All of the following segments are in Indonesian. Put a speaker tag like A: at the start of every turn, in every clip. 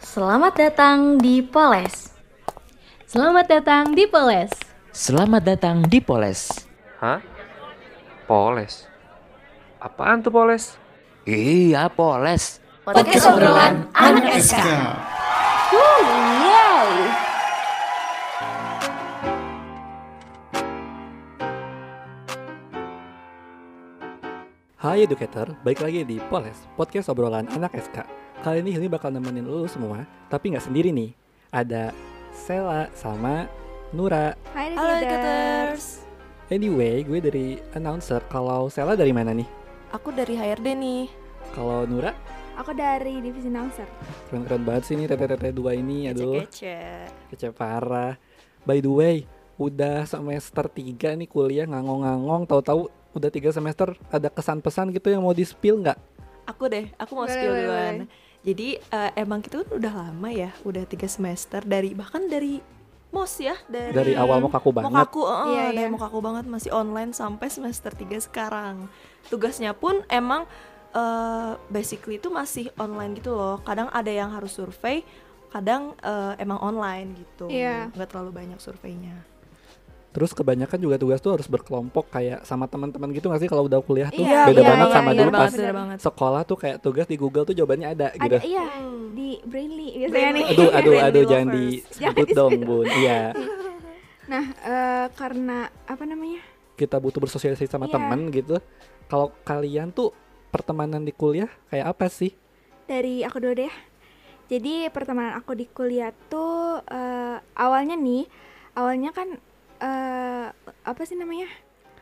A: Selamat datang di Poles.
B: Selamat datang di Poles.
C: Selamat datang di Poles.
D: Hah? Poles? Apaan tuh Poles?
C: Iya, Poles.
A: Podcast obrolan anak SK.
E: Hai Educator, balik lagi di Poles, podcast obrolan anak SK Kali ini Hilmi bakal nemenin lu semua, tapi nggak sendiri nih Ada Sela sama Nura
F: Hai
G: Halo
F: Educator.
G: Educators
E: Anyway, gue dari announcer, kalau Sela dari mana nih?
G: Aku dari HRD nih
E: Kalau Nura,
F: Aku dari divisi announcer.
E: keren-keren banget sih nih tete-tete dua ini Aduh,
G: Kece-kece
E: kece parah By the way, udah semester 3 nih kuliah ngangong-ngangong Tahu-tahu udah tiga semester, ada kesan-pesan gitu yang mau di-spill nggak?
G: Aku deh, aku mau
F: Boleh,
G: spill
F: boleh,
G: duluan Jadi eh, emang kita kan udah lama ya Udah tiga semester dari Bahkan dari MOS ya Dari,
E: Dari awal mau kaku banget
G: Mokaku, eh,
F: Iya,
G: dari
F: iya.
G: Mokaku banget Masih online sampai semester 3 sekarang Tugasnya pun emang eh, Basically itu masih online gitu loh Kadang ada yang harus survei Kadang eh, emang online gitu
F: Iya.
G: Nggak terlalu banyak surveinya
E: Terus kebanyakan juga tugas tuh harus berkelompok kayak sama teman-teman gitu nggak sih kalau udah kuliah tuh
F: Iya,
E: beda
F: iya,
E: banget
F: iya,
E: sama dulu
F: iya,
G: bener
F: benar
E: pas
G: banget, bener banget.
E: sekolah tuh kayak tugas di Google tuh jawabannya ada gitu.
F: Ada iya di Brainly biasanya Nah, nih.
E: Aduh aduh
G: Brand
E: aduh
G: new
E: jangan
G: lovers.
E: disebut dong
F: gitu.
E: bun. Iya
F: Nah, eh, karena apa namanya?
E: kita butuh bersosialisasi sama
F: Iya.
E: teman gitu. Kalau kalian tuh pertemanan di kuliah kayak apa sih?
F: Dari aku dulu deh. ya. Jadi pertemanan aku di kuliah tuh eh, awalnya nih, awalnya kan eh apa sih namanya?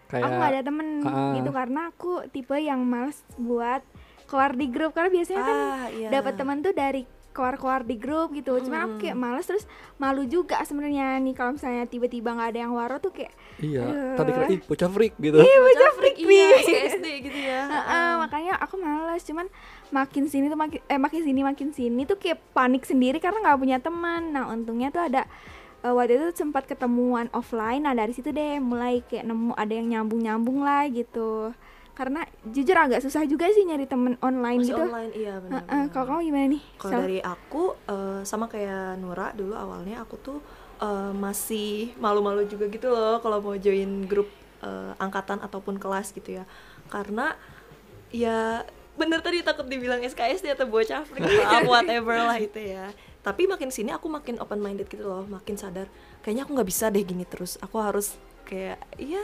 F: Aku nggak
E: Kayak
F: ada temen
E: Ah.
F: gitu karena aku tipe yang males buat keluar di grup karena biasanya kan
G: iya.
F: dapat teman tuh dari keluar-keluar di grup gitu cuman aku kayak males terus malu juga sebenarnya nih kalau misalnya tiba-tiba nggak ada yang waro tuh kayak
E: iya
F: aduh. Iya,
E: tadi kira ih bocah freak gitu.
G: bocah freak
F: nih.
G: Iya, SD gitu ya
F: iya. "Heeh," makanya aku males cuman makin sini tuh makin eh makin sini makin sini tuh kayak panik sendiri karena nggak punya teman nah untungnya tuh ada eh, waktu itu sempat ketemuan offline nah dari situ deh mulai kayak nemu ada yang nyambung nyambung lah gitu karena jujur agak susah juga sih nyari temen online
G: masih
F: gitu
G: online iya benar
F: Heeh, kalau kamu gimana nih
G: kalau
F: Sel?
G: dari aku eh, sama kayak Nura dulu awalnya aku tuh eh, masih malu-malu juga gitu loh kalau mau join grup eh, angkatan ataupun kelas gitu ya karena ya bener tadi takut dibilang SKSD atau bocah freak atau apa, whatever lah itu ya tapi makin sini aku makin open minded gitu loh makin sadar kayaknya aku nggak bisa deh gini terus aku harus kayak ya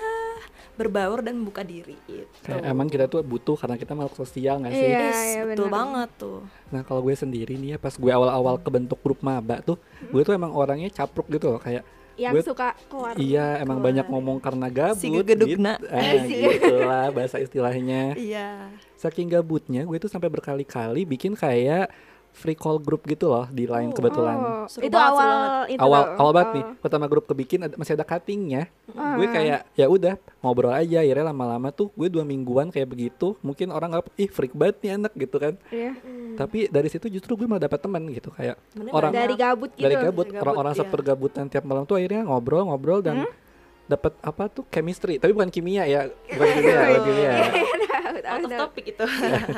G: berbaur dan membuka diri Gitu. itu
E: Kayak emang kita tuh butuh karena kita makhluk sosial nggak sih?
F: Iya,
G: Yes,
F: iya,
G: betul
F: benar.
G: banget tuh
E: Nah kalau gue sendiri nih ya pas gue awal-awal kebentuk grup maba tuh gue tuh emang orangnya capruk gitu loh kayak
F: yang
E: gue-
F: suka keluar
E: Iya, emang
G: keluar.
E: banyak ngomong karena gabut.
G: Si gegedugna.
E: Gitu. Ah, gitu lah bahasa istilahnya.
G: Iya.
E: Saking gabutnya, gue tuh sampai berkali-kali bikin kayak free call group gitu loh di line
G: Oh.
E: kebetulan.
F: Oh,
G: Seru
F: itu
G: banget, seru
F: awal itu
E: Awal
F: loh.
E: awal banget nih,
F: Oh.
E: pertama grup kebikin ada, masih ada cuttingnya.
F: Ah.
E: Gue kayak ya udah ngobrol aja, akhirnya lama-lama tuh gue dua mingguan kayak begitu. Mungkin orang nggak ih freak banget nih anak gitu kan.
F: Iya.
E: Tapi dari situ justru gue malah dapet teman gitu kayak
G: Temennya
E: orang
G: banyak.
F: dari gabut gitu
E: dari gabut
G: dari gabut,
E: orang-orang
G: iya.
E: sepergabutan tiap malam tuh akhirnya ngobrol-ngobrol
F: Hmm?
E: dan dapat apa tuh chemistry tapi bukan kimia ya bukan kimia bukan kimia
F: Iya. Tahu, tahu,
G: out of
F: tahu.
G: topic itu.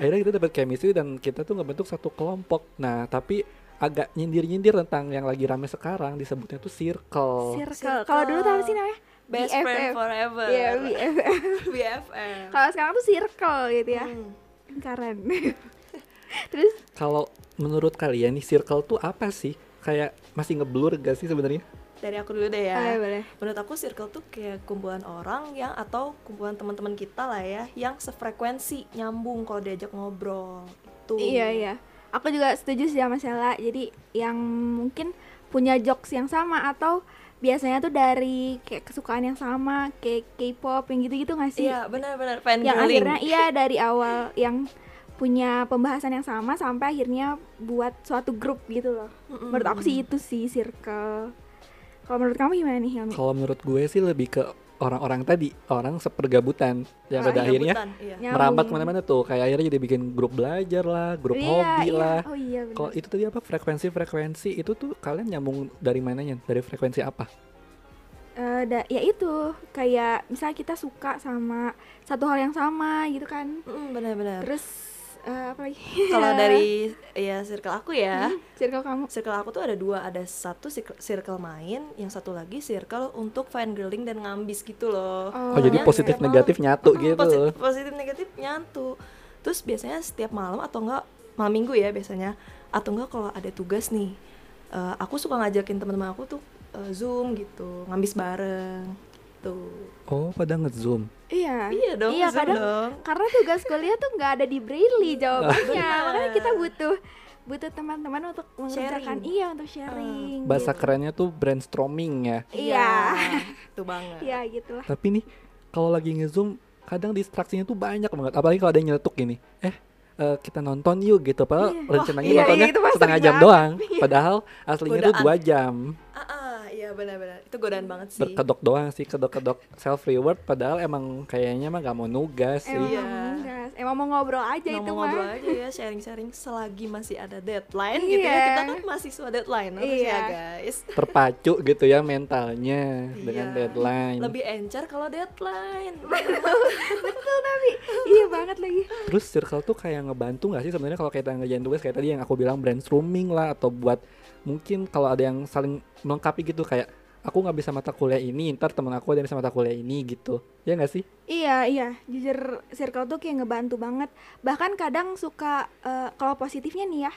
E: akhirnya kita dapat chemistry dan kita tuh ngebentuk satu kelompok nah tapi agak nyindir-nyindir tentang yang lagi rame sekarang disebutnya tuh circle
F: circle kalau dulu tahu sih namanya
G: Best
F: BFF.
G: friend forever.
F: Iya, BFF.
G: BFF.
F: Kalau sekarang tuh circle gitu ya.
G: Hmm.
F: Lingkaran. Terus
E: kalau menurut kalian nih circle tuh apa sih kayak masih ngeblur gak sih sebenarnya
G: Dari aku dulu deh ya.
F: Ayo, eh, boleh.
G: Menurut aku circle tuh kayak kumpulan orang yang atau kumpulan teman-teman kita lah ya, yang sefrekuensi nyambung kalau diajak ngobrol. Itu.
F: Iya, iya. Aku juga setuju sih sama Sela. Jadi yang mungkin punya jokes yang sama atau biasanya tuh dari kayak kesukaan yang sama, kayak K-pop yang gitu-gitu nggak sih?
G: Iya, benar-benar fan
F: yang
G: girling.
F: akhirnya iya dari awal yang punya pembahasan yang sama sampai akhirnya buat suatu grup gitu loh.
G: Mm-mm.
F: Menurut aku sih itu sih circle. Kalau menurut kamu gimana nih Hilmi?
E: kalau menurut gue sih lebih ke orang-orang tadi orang sepergabutan yang pada
G: Orang
E: akhirnya
G: gabutan, iya.
F: Nyambung.
E: merambat kemana-mana tuh kayak akhirnya jadi bikin grup belajar lah grup
F: Iya,
E: hobi
F: iya.
E: lah
F: Oh iya benar.
E: kalau itu tadi apa frekuensi frekuensi itu tuh kalian nyambung dari mananya dari frekuensi apa
F: Eh, da- ya itu kayak misalnya kita suka sama satu hal yang sama gitu kan
G: Mm-mm, benar-benar.
F: terus Mm-hmm. eh, apa lagi?
G: Kalau dari ya circle aku ya,
F: circle kamu
G: circle aku tuh ada dua, ada satu circle- circle main, yang satu lagi circle untuk fine girling dan ngambis gitu loh.
E: Oh, jadi
G: Yang
E: positif
G: setiap
E: negatif
G: malam-
E: nyatu
G: Mm,
E: gitu.
G: posi- Positif negatif nyatu. Terus biasanya setiap malam atau enggak malam minggu ya biasanya atau enggak kalau ada tugas nih, eh, aku suka ngajakin teman-teman aku tuh eh, zoom gitu, ngambis bareng. Tuh.
E: Oh, pada ngezoom.
F: iya
G: Iya dong,
F: iya
G: zoom
F: kadang
G: dong.
F: karena tugas kuliah tuh nggak ada di braille jawabannya
G: Benar.
F: makanya kita butuh butuh teman-teman untuk mengerjakan
G: Sharing.
F: iya untuk sharing
E: Bahasa
F: gitu.
E: kerennya tuh brainstorming ya.
F: Iya.
G: Itu banget.
F: iya gitulah
E: Tapi nih kalau lagi ngezoom kadang distraksinya tuh banyak banget. Apalagi kalau ada yang nyeletuk gini. Eh eh, kita nonton yuk gitu padahal
F: Iya.
E: rencananya
F: iya,
E: nontonnya
F: iya, itu pasti
E: setengah jam
F: banget.
E: doang padahal aslinya tuh
G: Godaan.
E: dua jam
G: Ah, ah, iya benar-benar. Itu godaan banget sih.
E: berkedok doang sih kedok-kedok self reward padahal emang kayaknya mah gak mau nugas
F: emang
E: sih
G: Iya.
F: mau nugas, emang mau ngobrol aja
G: Nah,
F: itu
G: mau
F: mah
G: ngobrol aja ya sharing-sharing selagi masih ada deadline gitu ya
F: Iya.
G: kita kan mahasiswa deadline harusnya
F: Iya.
G: guys
E: terpacu gitu ya mentalnya dengan
G: Iya.
E: deadline
G: lebih encer kalau deadline
F: betul tapi iya banget lagi
E: terus circle tuh kayak ngebantu nggak sih sebenarnya kalau kita ngerjain tugas kayak tadi yang aku bilang brainstorming lah atau buat mungkin kalau ada yang saling melengkapi gitu kayak aku nggak bisa mata kuliah ini ntar temen aku ada yang bisa mata kuliah ini gitu ya nggak sih
F: Iya iya, jujur circle tuh kayak ngebantu banget. Bahkan kadang suka eh, kalau positifnya nih ya,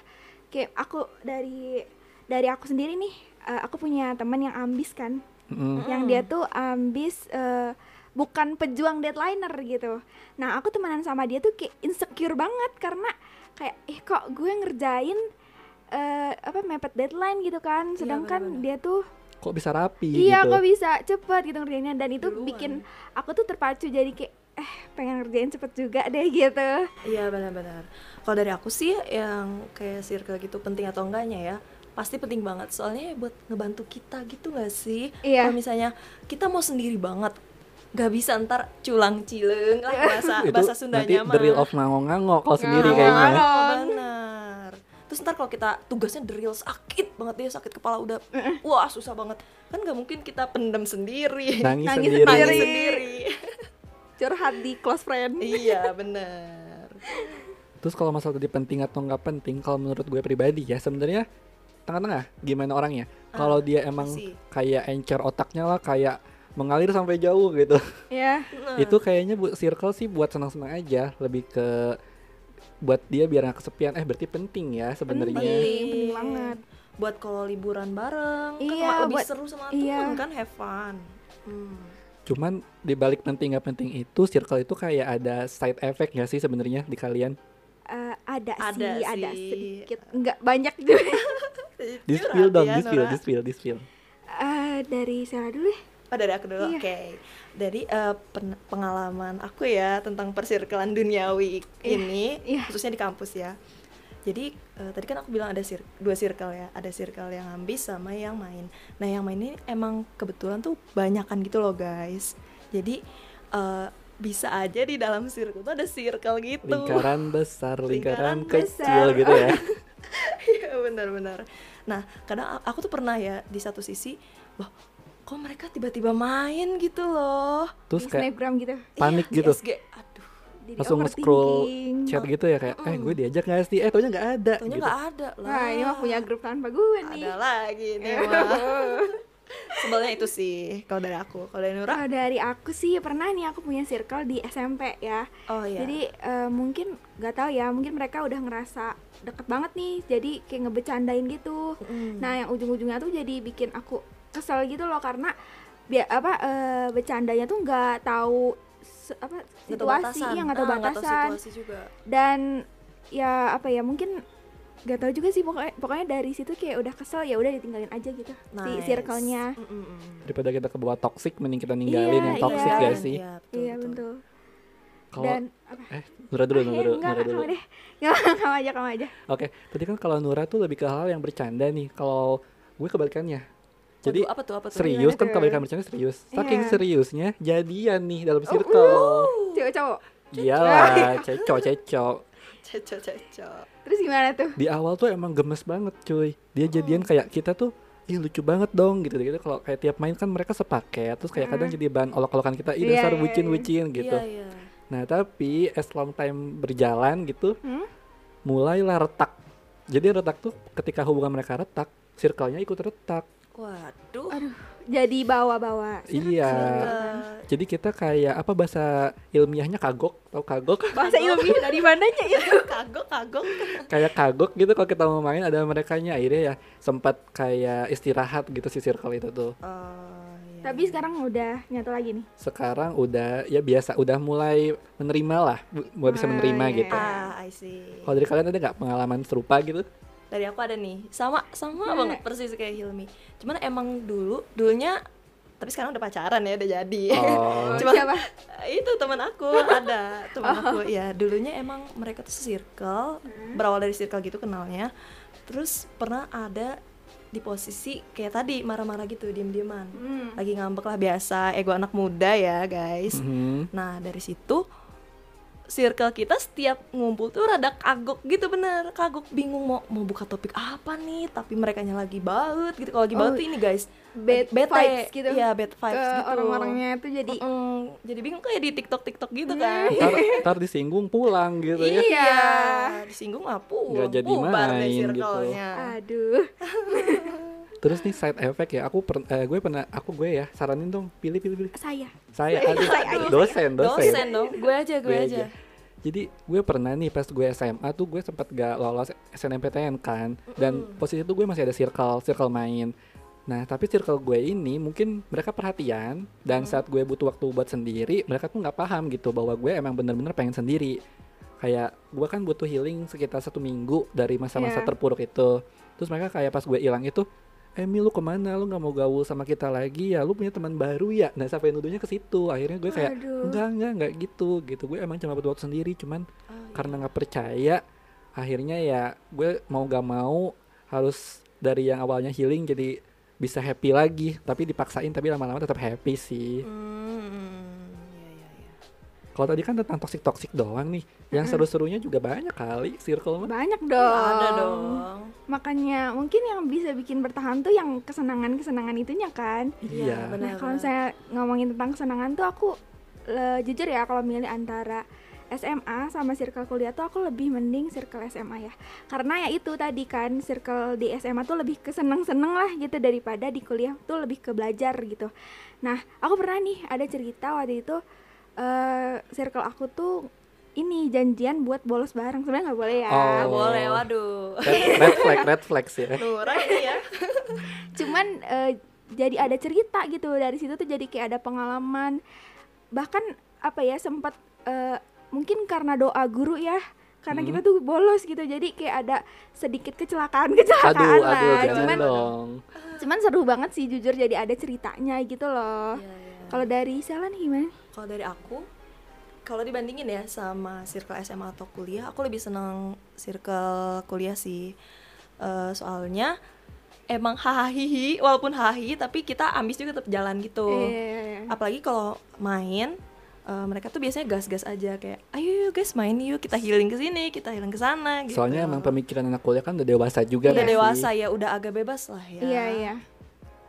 F: kayak aku dari dari aku sendiri nih, eh, aku punya teman yang ambis kan,
E: Mm-mm.
F: yang dia tuh ambis eh, bukan pejuang deadliner gitu. Nah aku temenan sama dia tuh kayak insecure banget karena kayak eh kok gue ngerjain eh, apa mepet deadline gitu kan, sedangkan
G: benar-benar.
F: dia tuh
E: kok bisa rapi
F: Iya,
E: gitu
F: kok bisa cepet gitu ngerjainnya dan itu
G: Duluan.
F: bikin aku tuh terpacu jadi kayak eh pengen ngerjain cepet juga deh gitu.
G: iya benar-benar kalau dari aku sih yang kayak circle gitu penting atau enggaknya ya pasti penting banget soalnya ya buat ngebantu kita gitu nggak sih
F: Iya.
G: kalau misalnya kita mau sendiri banget nggak bisa ntar culang cileng lah bahasa
E: itu
G: bahasa
E: nanti
G: Sundanya
E: the
G: mah
E: real of ngango-ngango kalau sendiri
F: Ngango.
E: kayaknya
G: Iya, Benar. Terus ntar kalau kita tugasnya drill sakit banget dia sakit kepala udah wah susah banget. Kan nggak mungkin kita pendem sendiri.
E: nangis,
F: Nangis
E: sendiri,
G: Nangis
F: Sendiri.
G: sendiri.
F: Curhat di close friend.
G: iya, benar.
E: Iya. terus kalau masalah tadi penting atau nggak penting kalau menurut gue pribadi ya sebenarnya tengah-tengah gimana orangnya
F: Ah,
E: kalau dia emang
G: sih.
E: kayak encer otaknya lah kayak mengalir sampai jauh gitu
F: Ya,
G: Hmm.
E: itu kayaknya bu circle sih buat senang-senang aja lebih ke buat dia biar nggak kesepian eh berarti penting ya sebenarnya
F: penting, penting banget.
G: Buat kalau liburan bareng kan
F: Iya,
G: ma- lebih
F: buat-
G: seru sama
F: iya.
G: temen kan have fun. Hmm.
E: cuman dibalik penting nggak penting itu circle itu kayak ada side effect nggak sih sebenarnya di kalian
F: Eh, ada,
G: Ada
F: sih, ada
G: sih.
F: sedikit, nggak banyak juga.
E: di
G: Curhat
E: spill dong
G: ya,
E: di spill
G: Nora.
E: di spill di spill
F: Eh, dari Sarah dulu deh.
G: Oh, dari aku dulu,
F: Iya.
G: oke. Dari eh, pen- pengalaman aku ya tentang persirkelan duniawi ini,
F: iya.
G: khususnya di kampus ya. Jadi eh, tadi kan aku bilang ada sir- dua circle ya, ada circle yang ambis sama yang main. Nah yang main ini emang kebetulan tuh banyakan gitu loh guys. Jadi eh, bisa aja di dalam circle tuh ada circle gitu.
E: lingkaran besar lingkaran,
G: Lingkaran
E: kecil
G: besar.
E: gitu ya
G: Iya benar-benar. Nah kadang a- aku tuh pernah ya di satu sisi, wah kok mereka tiba-tiba main gitu loh.
E: terus
F: di
E: kayak
F: Snapgram gitu.
E: panik
G: Iya, Oh,
E: gitu
G: ISG. Aduh.
F: Jadi
E: langsung nge-scroll
F: overthinking.
E: chat gitu ya kayak eh gue diajak nggak sih eh taunya nggak ada
G: Oh. Hmm. Taunya
E: gitu.
G: nggak ada lah.
F: Wah, Nah, ini mah punya Iya. grup tanpa gue nih.
G: Ada lagi nih mah. Sebelnya itu sih kalau dari aku, kalau dari Nura.
F: Kalau dari aku sih pernah nih aku punya circle di SMP ya.
G: Oh iya.
F: Jadi eh, mungkin nggak tahu ya, mungkin mereka udah ngerasa deket banget nih, jadi kayak ngebecandain gitu.
G: Mm.
F: Nah yang ujung-ujungnya tuh jadi bikin aku kesel gitu loh karena bia apa eh, bercandanya tuh nggak tahu se- apa
G: Nggak tahu
F: situasi
G: batasan.
F: yang nggak tahu
G: Ah,
F: batasan
G: situasi juga.
F: dan ya apa ya mungkin nggak tahu juga sih pokoknya pokoknya dari situ kayak udah kesel ya udah ditinggalin aja gitu si
G: Nice.
F: circle-nya.
G: Mm, mm, mm.
E: daripada kita kebawa toxic mending kita ninggalin
F: Iya,
E: yang toxic
F: iya.
E: gak sih
G: Iya, betul,
F: Iya
G: betul.
F: betul.
E: kalau
F: Dan apa?
E: eh Nura dulu Nura
F: Eh,
E: dulu
F: enggak,
E: Nura dulu
F: kamu deh. Enggak, kamu aja, kamu aja.
E: Oke, tadi kan kalau Nura tuh lebih ke hal yang bercanda nih. Kalau gue kebalikannya. Jadi
G: Waduh, apa tuh apa tuh?
E: serius
F: Gimana
E: kan
F: tuh?
E: kebalikan bercanda serius. Saking
F: Iya. Uh,
E: seriusnya jadian nih dalam circle.
F: Cewek cowok.
E: Iyalah, ceco ceco.
G: Ceco ceco.
F: Terus gimana tuh?
E: Di awal tuh emang gemes banget, cuy.
F: Uh-uh.
E: Dia jadian kayak kita tuh Ih lucu banget dong gitu gitu kalau kayak tiap main kan mereka sepaket terus kayak kadang jadi bahan olok-olokan kita ih
F: Uh-uh. Iya,
E: dasar gitu.
F: iya, iya.
E: bucin-bucin gitu.
G: Iya, iya.
E: Nah, tapi as long time berjalan gitu,
F: Hmm?
E: mulailah retak. Jadi retak tuh ketika hubungan mereka retak, circle-nya ikut retak.
G: Waduh. Eh,
F: Jadi bawa-bawa.
E: Iya. Jadi kita kayak apa bahasa ilmiahnya kagok atau kagok
F: Bahasa ilmiah dari mananya ya?
G: kagok kagok.
E: kayak kagok gitu kalau kita mau main ada mereka akhirnya ya sempat kayak istirahat gitu si circle itu tuh
G: Eh, iya.
F: Tapi sekarang udah nyatu lagi nih.
E: sekarang udah ya biasa udah mulai menerima lah bu- mulai bisa
F: Ah,
E: menerima
F: iya.
E: gitu
G: ah, I see.
E: kalau dari kalian ada nggak pengalaman serupa gitu
G: dari aku ada nih sama sama
F: Nah.
G: banget persis kayak Hilmi cuman emang dulu dulunya tapi sekarang udah pacaran ya udah jadi
E: oh
G: Cuma-
F: Siapa?
G: itu teman aku ada teman aku ya dulunya emang mereka tuh circle berawal dari circle gitu kenalnya terus pernah ada di posisi kayak tadi marah-marah gitu diem-dieman
F: Hmm.
G: lagi ngambek lah biasa ego anak muda ya guys
E: Mhm.
G: Nah dari situ circle kita setiap ngumpul tuh rada kagok gitu bener kagok bingung mau mau buka topik apa nih tapi mereka lagi baut gitu kalau lagi
F: Oh,
G: baut tuh ini guys
F: Bad
G: bete.
F: vibes gitu.
G: iya bad vibes
F: Ke
G: gitu
F: orang-orangnya Iya. tuh jadi
G: Mm-mm. jadi bingung kayak di tiktok tiktok gitu kan
E: ntar, ntar disinggung pulang gitu ya
G: iya disinggung ah, apa
E: Nggak jadi main gitu.
F: aduh.
E: terus nih side effect ya aku per- eh, gue pernah aku gue ya saranin dong pilih pilih pilih
F: Saya.
E: Iya, saya aduh, dosen dosen,
G: dosen dong gue aja gue aja
E: Jadi gue pernah nih pas gue SMA tuh gue sempat gak lolos SNMPTN kan dan posisi itu gue masih ada circle circle main. Nah tapi circle gue ini mungkin mereka perhatian dan saat gue butuh waktu buat sendiri mereka tuh nggak paham gitu bahwa gue emang bener-bener pengen sendiri. Kayak gue kan butuh healing sekitar satu minggu dari masa-masa
F: Iya.
E: terpuruk itu. Terus mereka kayak pas gue hilang itu Emi lu kemana? Lu nggak mau gaul sama kita lagi ya? Lu punya teman baru ya? Nah sampai nuduhnya ke situ. Akhirnya gue kayak
F: Aduh.
E: enggak enggak enggak gitu gitu gue emang cuma butuh waktu sendiri
F: Oh,
E: cuman
F: iya.
E: karena nggak percaya akhirnya ya gue mau gak mau harus dari yang awalnya healing jadi bisa happy lagi tapi dipaksain tapi lama-lama tetap happy sih
G: Hmm, iya, iya, iya.
E: kalau tadi kan tentang toxic toxic doang nih yang
F: Hmm.
E: seru-serunya juga banyak kali circle mah
F: Banyak
G: ada dong
F: Iya, Makanya mungkin yang bisa bikin bertahan tuh yang kesenangan-kesenangan itunya kan.
E: iya
G: benar,
F: Nah, kalau
G: benar.
F: saya ngomongin tentang kesenangan tuh aku le- jujur ya kalau milih antara SMA sama circle kuliah tuh aku lebih mending circle SMA ya. Karena ya itu tadi kan circle di SMA tuh lebih keseneng-seneng lah gitu daripada di kuliah tuh lebih ke belajar gitu. Nah, aku pernah nih ada cerita waktu itu eh circle aku tuh ini janjian buat bolos bareng sebenarnya nggak boleh ya.
E: Oh.
G: Nggak boleh waduh
E: red, red flag red flag sih ya
G: Nura ini ya
F: cuman eh, jadi ada cerita gitu dari situ tuh jadi kayak ada pengalaman bahkan apa ya sempat eh, mungkin karena doa guru ya karena kita
E: Hmm.
F: tuh bolos gitu jadi kayak ada sedikit kecelakaan kecelakaan
E: aduh
F: lah
E: aduh jangan
F: cuman gitu.
E: dong
F: cuman seru banget sih jujur jadi ada ceritanya gitu loh
G: Iya, iya.
F: kalau dari Selan gimana
G: Kalau dari aku, kalau dibandingin ya sama circle SMA atau kuliah, aku lebih seneng circle kuliah sih. Eh, soalnya emang hahaha hihi, walaupun hahaha tapi kita ambis juga tetap jalan gitu.
F: Eh,
G: Apalagi kalau main, eh, mereka tuh biasanya gas-gas aja kayak, ayo yuk guys main yuk, kita healing ke sini, kita healing ke sana. Gitu.
E: soalnya emang
F: Iya.
E: pemikiran anak kuliah kan udah dewasa juga
G: udah
E: nggak sih?
G: dewasa ya, udah agak bebas lah ya.
F: iya iya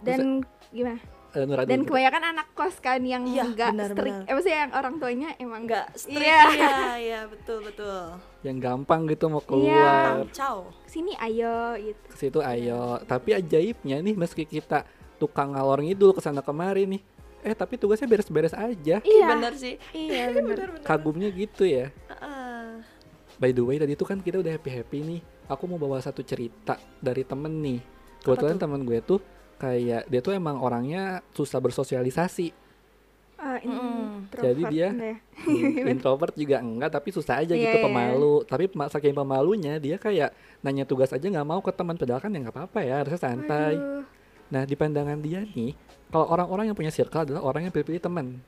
F: dan gimana
E: Eh, Nur, aduh,
F: dan
E: gitu.
F: kebanyakan anak kos kan yang
G: Iya,
F: enggak
G: benar,
F: strict
G: benar.
F: eh maksudnya yang orang tuanya emang
G: Nggak strict
F: Iya.
G: ya, ya betul betul.
E: yang gampang gitu
F: Iya.
E: mau keluar
G: Ciao.
F: sini ayo gitu
E: ke situ ayo tapi ajaibnya nih meski kita tukang ngalor ngidul kesana kemari nih eh tapi tugasnya beres-beres aja
G: Bener sih.
F: iya
G: Kan
F: benar
E: kagumnya gitu ya
G: Heeh.
E: by the way tadi itu kan kita udah happy happy nih aku mau bawa satu cerita dari temen nih kebetulan
G: tuh?
E: temen gue tuh kayak dia tuh emang orangnya susah bersosialisasi
F: Ah, ini
G: Mm-mm.
F: introvert
E: Jadi dia-
F: ya.
E: introvert juga enggak tapi susah aja
F: Iya,
E: gitu
F: iya.
E: pemalu tapi ma- saking pemalunya dia kayak nanya tugas aja nggak mau ke teman padahal kan ya nggak apa-apa ya harusnya santai
F: Aduh.
E: nah di pandangan dia nih kalau orang-orang yang punya circle adalah orang yang pilih-pilih teman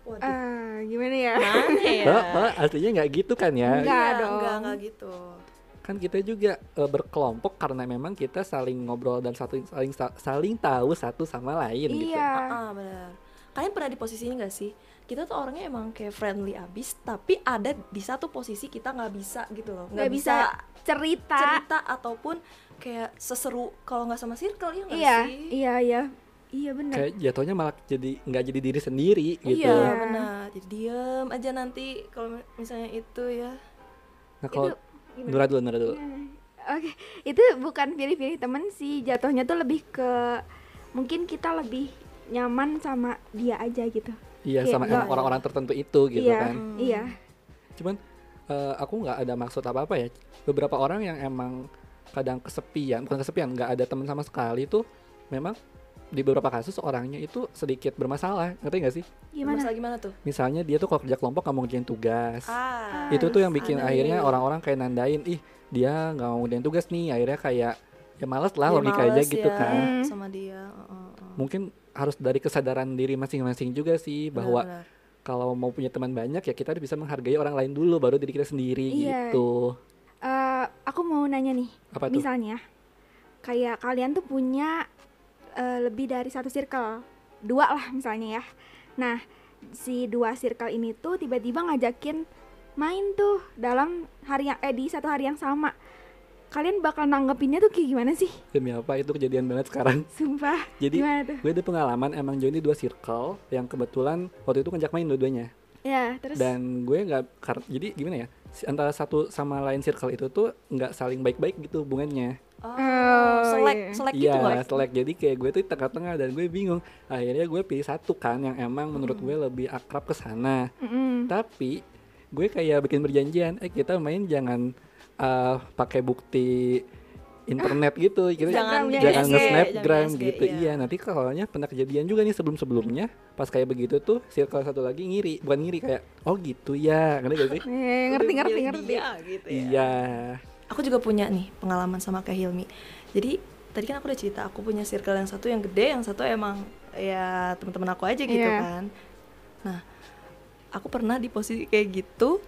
G: Waduh.
F: Ah, gimana ya
G: Mana ya?
E: Heeh, aslinya nggak gitu kan ya?
F: Nggak.
G: Iya,
F: dong.
G: Enggak, enggak gitu.
E: Kan kita juga eh, berkelompok karena memang kita saling ngobrol dan satu saling saling tahu satu sama lain gitu.
F: iya
G: Ah, benar. Kalian pernah di posisi ini gak sih? Kita tuh orangnya emang kayak friendly abis, tapi ada di satu posisi kita nggak bisa gitu loh. Nggak
F: nggak bisa
G: bisa
F: cerita,
G: cerita ataupun kayak seseru kalau nggak sama circle ya nggak
F: iya
G: sih?
F: iya iya iya benar
E: Kayak jatuhnya malah jadi nggak jadi diri sendiri gitu.
G: Iya,
F: Iya.
G: benar. Jadi diam aja nanti kalau misalnya itu ya.
E: Nah, kalau
F: Itu Iya. gimana?
E: Nura dulu, Nura dulu.
F: Oke, itu bukan pilih-pilih temen sih. Jatuhnya tuh lebih ke mungkin kita lebih nyaman sama dia aja gitu.
E: Iya, sama
F: Iya.
E: emang orang-orang tertentu itu gitu
F: iya,
E: kan.
F: iya.
E: Cuman eh, aku nggak ada maksud apa-apa ya. Beberapa orang yang emang kadang kesepian, bukan kesepian, nggak ada teman sama sekali tuh memang di beberapa kasus orangnya itu sedikit bermasalah, ngerti nggak sih?
F: Gimana?
G: Masalah gimana tuh?
E: Misalnya dia tuh kalau kerja kelompok nggak mau ngerjain tugas,
G: Ah,
E: itu tuh yang bikin
G: aneh.
E: akhirnya orang-orang kayak nandain, ih dia nggak mau ngerjain tugas nih, akhirnya kayak ya males lah
G: Ya,
E: logika aja
G: males
E: gitu
G: ya
E: kan.
F: Hmm.
G: Sama dia. heeh, heeh.
E: Mungkin harus dari kesadaran diri masing-masing juga sih bahwa
G: Benar-benar.
E: kalau mau punya teman banyak ya kita bisa menghargai orang lain dulu baru diri kita sendiri
F: Iya.
E: gitu
F: Eh, aku mau nanya nih.
E: apa tuh
F: Misalnya kayak kalian tuh punya eh, lebih dari satu circle. Dua lah misalnya ya. Nah, si dua circle ini tuh tiba-tiba ngajakin main tuh dalam hari yang eh di satu hari yang sama. Kalian bakal nanggepinnya tuh kayak gimana sih?
E: demi apa itu kejadian banget sekarang
F: Sumpah.
E: jadi
F: Gimana tuh?
E: gue ada pengalaman emang join di dua circle yang kebetulan waktu itu ngajak main dua-duanya
F: Ya, terus
E: dan gue nggak kar- jadi gimana ya si- antara satu sama lain circle itu tuh nggak saling baik-baik gitu hubungannya
G: Oh,
F: Oh,
G: selek,
F: iya.
G: selek gitu
E: Iya,
G: nggak?
E: selek. Jadi kayak gue tuh tengah-tengah dan gue bingung. Akhirnya gue pilih satu kan yang emang menurut
F: Hmm.
E: gue lebih akrab ke sana.
F: Mm-mm.
E: tapi gue kayak bikin perjanjian eh kita main jangan eh, pakai bukti internet gitu kita
G: Jangan
F: jangan
E: jangan
G: SG,
E: nge snapgram
G: Iya, jangan SG,
E: gitu iya nanti kalau pernah kejadian juga nih sebelum sebelumnya pas kayak begitu tuh circle satu lagi ngiri bukan ngiri kayak oh gitu ya ngerti gak sih
F: Eh, ngerti
G: Udah
F: ngerti
G: milih
F: ngerti.
G: dia gitu ya.
E: iya
G: Aku juga punya nih pengalaman sama kayak Hilmi. Jadi tadi kan aku udah cerita aku punya circle yang satu yang gede, yang satu emang ya teman-teman aku aja gitu
F: Iya.
G: kan. Nah, aku pernah di posisi kayak gitu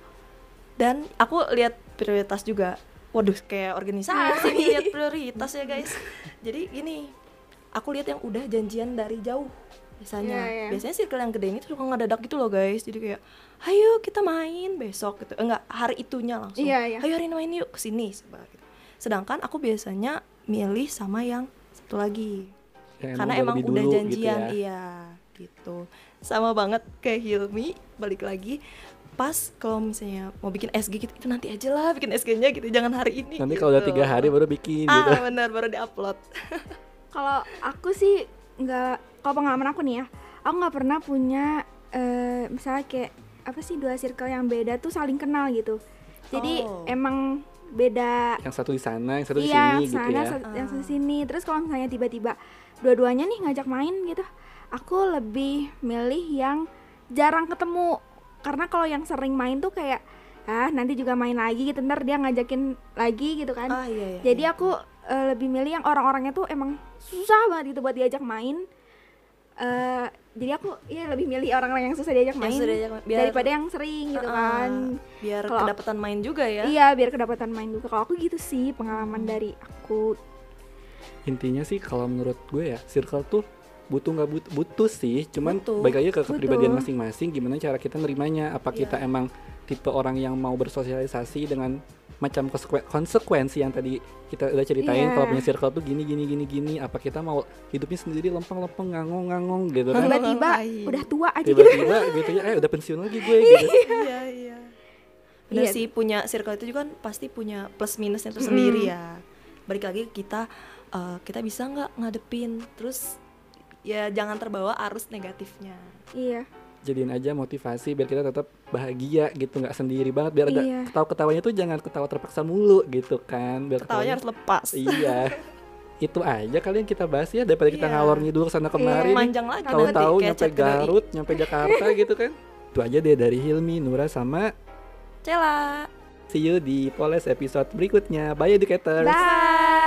G: dan aku lihat prioritas juga. Waduh, kayak organisasi nih, lihat prioritas ya guys. Jadi gini, aku lihat yang udah janjian dari jauh biasanya.
F: Iya, iya.
G: Biasanya circle yang gede ini tuh suka ngedadak gitu loh guys. Jadi kayak, ayo kita main besok gitu. Eh, Enggak, hari itunya langsung langsung,
F: Iya, iya.
G: ayo hari ini main yuk kesini sebar gitu. sedangkan aku biasanya milih sama yang satu lagi
E: Yang
G: karena
E: udah
G: emang
E: lebih
G: udah
E: dulu
G: janjian
E: gitu ya.
G: iya gitu sama banget kayak Hilmi balik lagi pas kalau misalnya mau bikin SG gitu itu nanti aja lah bikin SG-nya gitu jangan hari ini
E: nanti kalau udah
G: gitu.
E: tiga hari baru bikin
G: ah
E: gitu
G: benar baru diupload
F: Kalau aku sih nggak, kalau pengalaman aku nih ya, aku nggak pernah punya eh, misalnya kayak apa sih dua circle yang beda tuh saling kenal gitu. Jadi
G: Oh.
F: emang beda.
E: yang satu di sana yang satu di
F: Iya,
E: sini gitu
F: sana
E: ya
F: sat-
G: Ah.
F: yang satu sini. Terus kalau misalnya tiba-tiba dua-duanya nih ngajak main gitu, aku lebih milih yang jarang ketemu karena kalau yang sering main tuh kayak ah nanti juga main lagi gitu ntar dia ngajakin lagi gitu kan
G: ah iya iya
F: jadi
G: iya.
F: aku eh, lebih milih yang orang-orangnya tuh emang susah banget gitu buat diajak main Eh, jadi aku ya lebih milih orang-orang yang susah
G: Yang
F: diajak
G: Ya
F: main
G: sudah diajak main, biar-
F: daripada yang sering gitu
G: Ah,
F: kan
G: biar
F: Kalau-
G: kedapatan main juga ya
F: iya biar kedapatan main juga kalau aku gitu sih pengalaman dari aku
E: intinya sih kalau menurut gue ya circle tuh butuh nggak butuh, butuh sih cuman
G: Butuh.
E: baik lagi ke kepribadian
F: Butuh. Iya.
E: masing-masing gimana cara kita nerimanya apa kita emang tipe orang yang mau bersosialisasi dengan macam konseku- konsekuensi yang tadi kita udah ceritain
F: Iya.
E: kalau punya circle tuh gini gini gini gini apa kita mau hidupnya sendiri lempeng-lempeng ngangong-ngangong gitu kan
F: tiba-tiba
G: Lain.
F: udah tua aja gitu
E: tiba-tiba gitu ya eh udah pensiun lagi gue gitu
G: iya iya benar
F: Iya.
G: sih punya circle itu juga kan pasti punya plus minusnya itu sendiri ya balik lagi ke kita eh, kita bisa nggak ngadepin terus ya jangan terbawa arus negatifnya
F: iya
E: jadiin aja motivasi biar kita tetap bahagia gitu nggak sendiri banget biar ada
F: Iya.
E: ketawa-ketawanya tuh jangan ketawa terpaksa mulu gitu kan biar
G: ketawanya harus lepas
E: iya itu aja kalian kita bahas ya daripada kita
G: Iya.
E: ngalor ngidul sana kemari nih.
G: panjang lagi
E: tahu-tahu nyampe
G: nanti kayak chat ke doi.
E: Garut nyampe Jakarta gitu kan itu aja deh dari Hilmi Nura sama
G: Cela
E: see you di Poles episode berikutnya bye educators
F: bye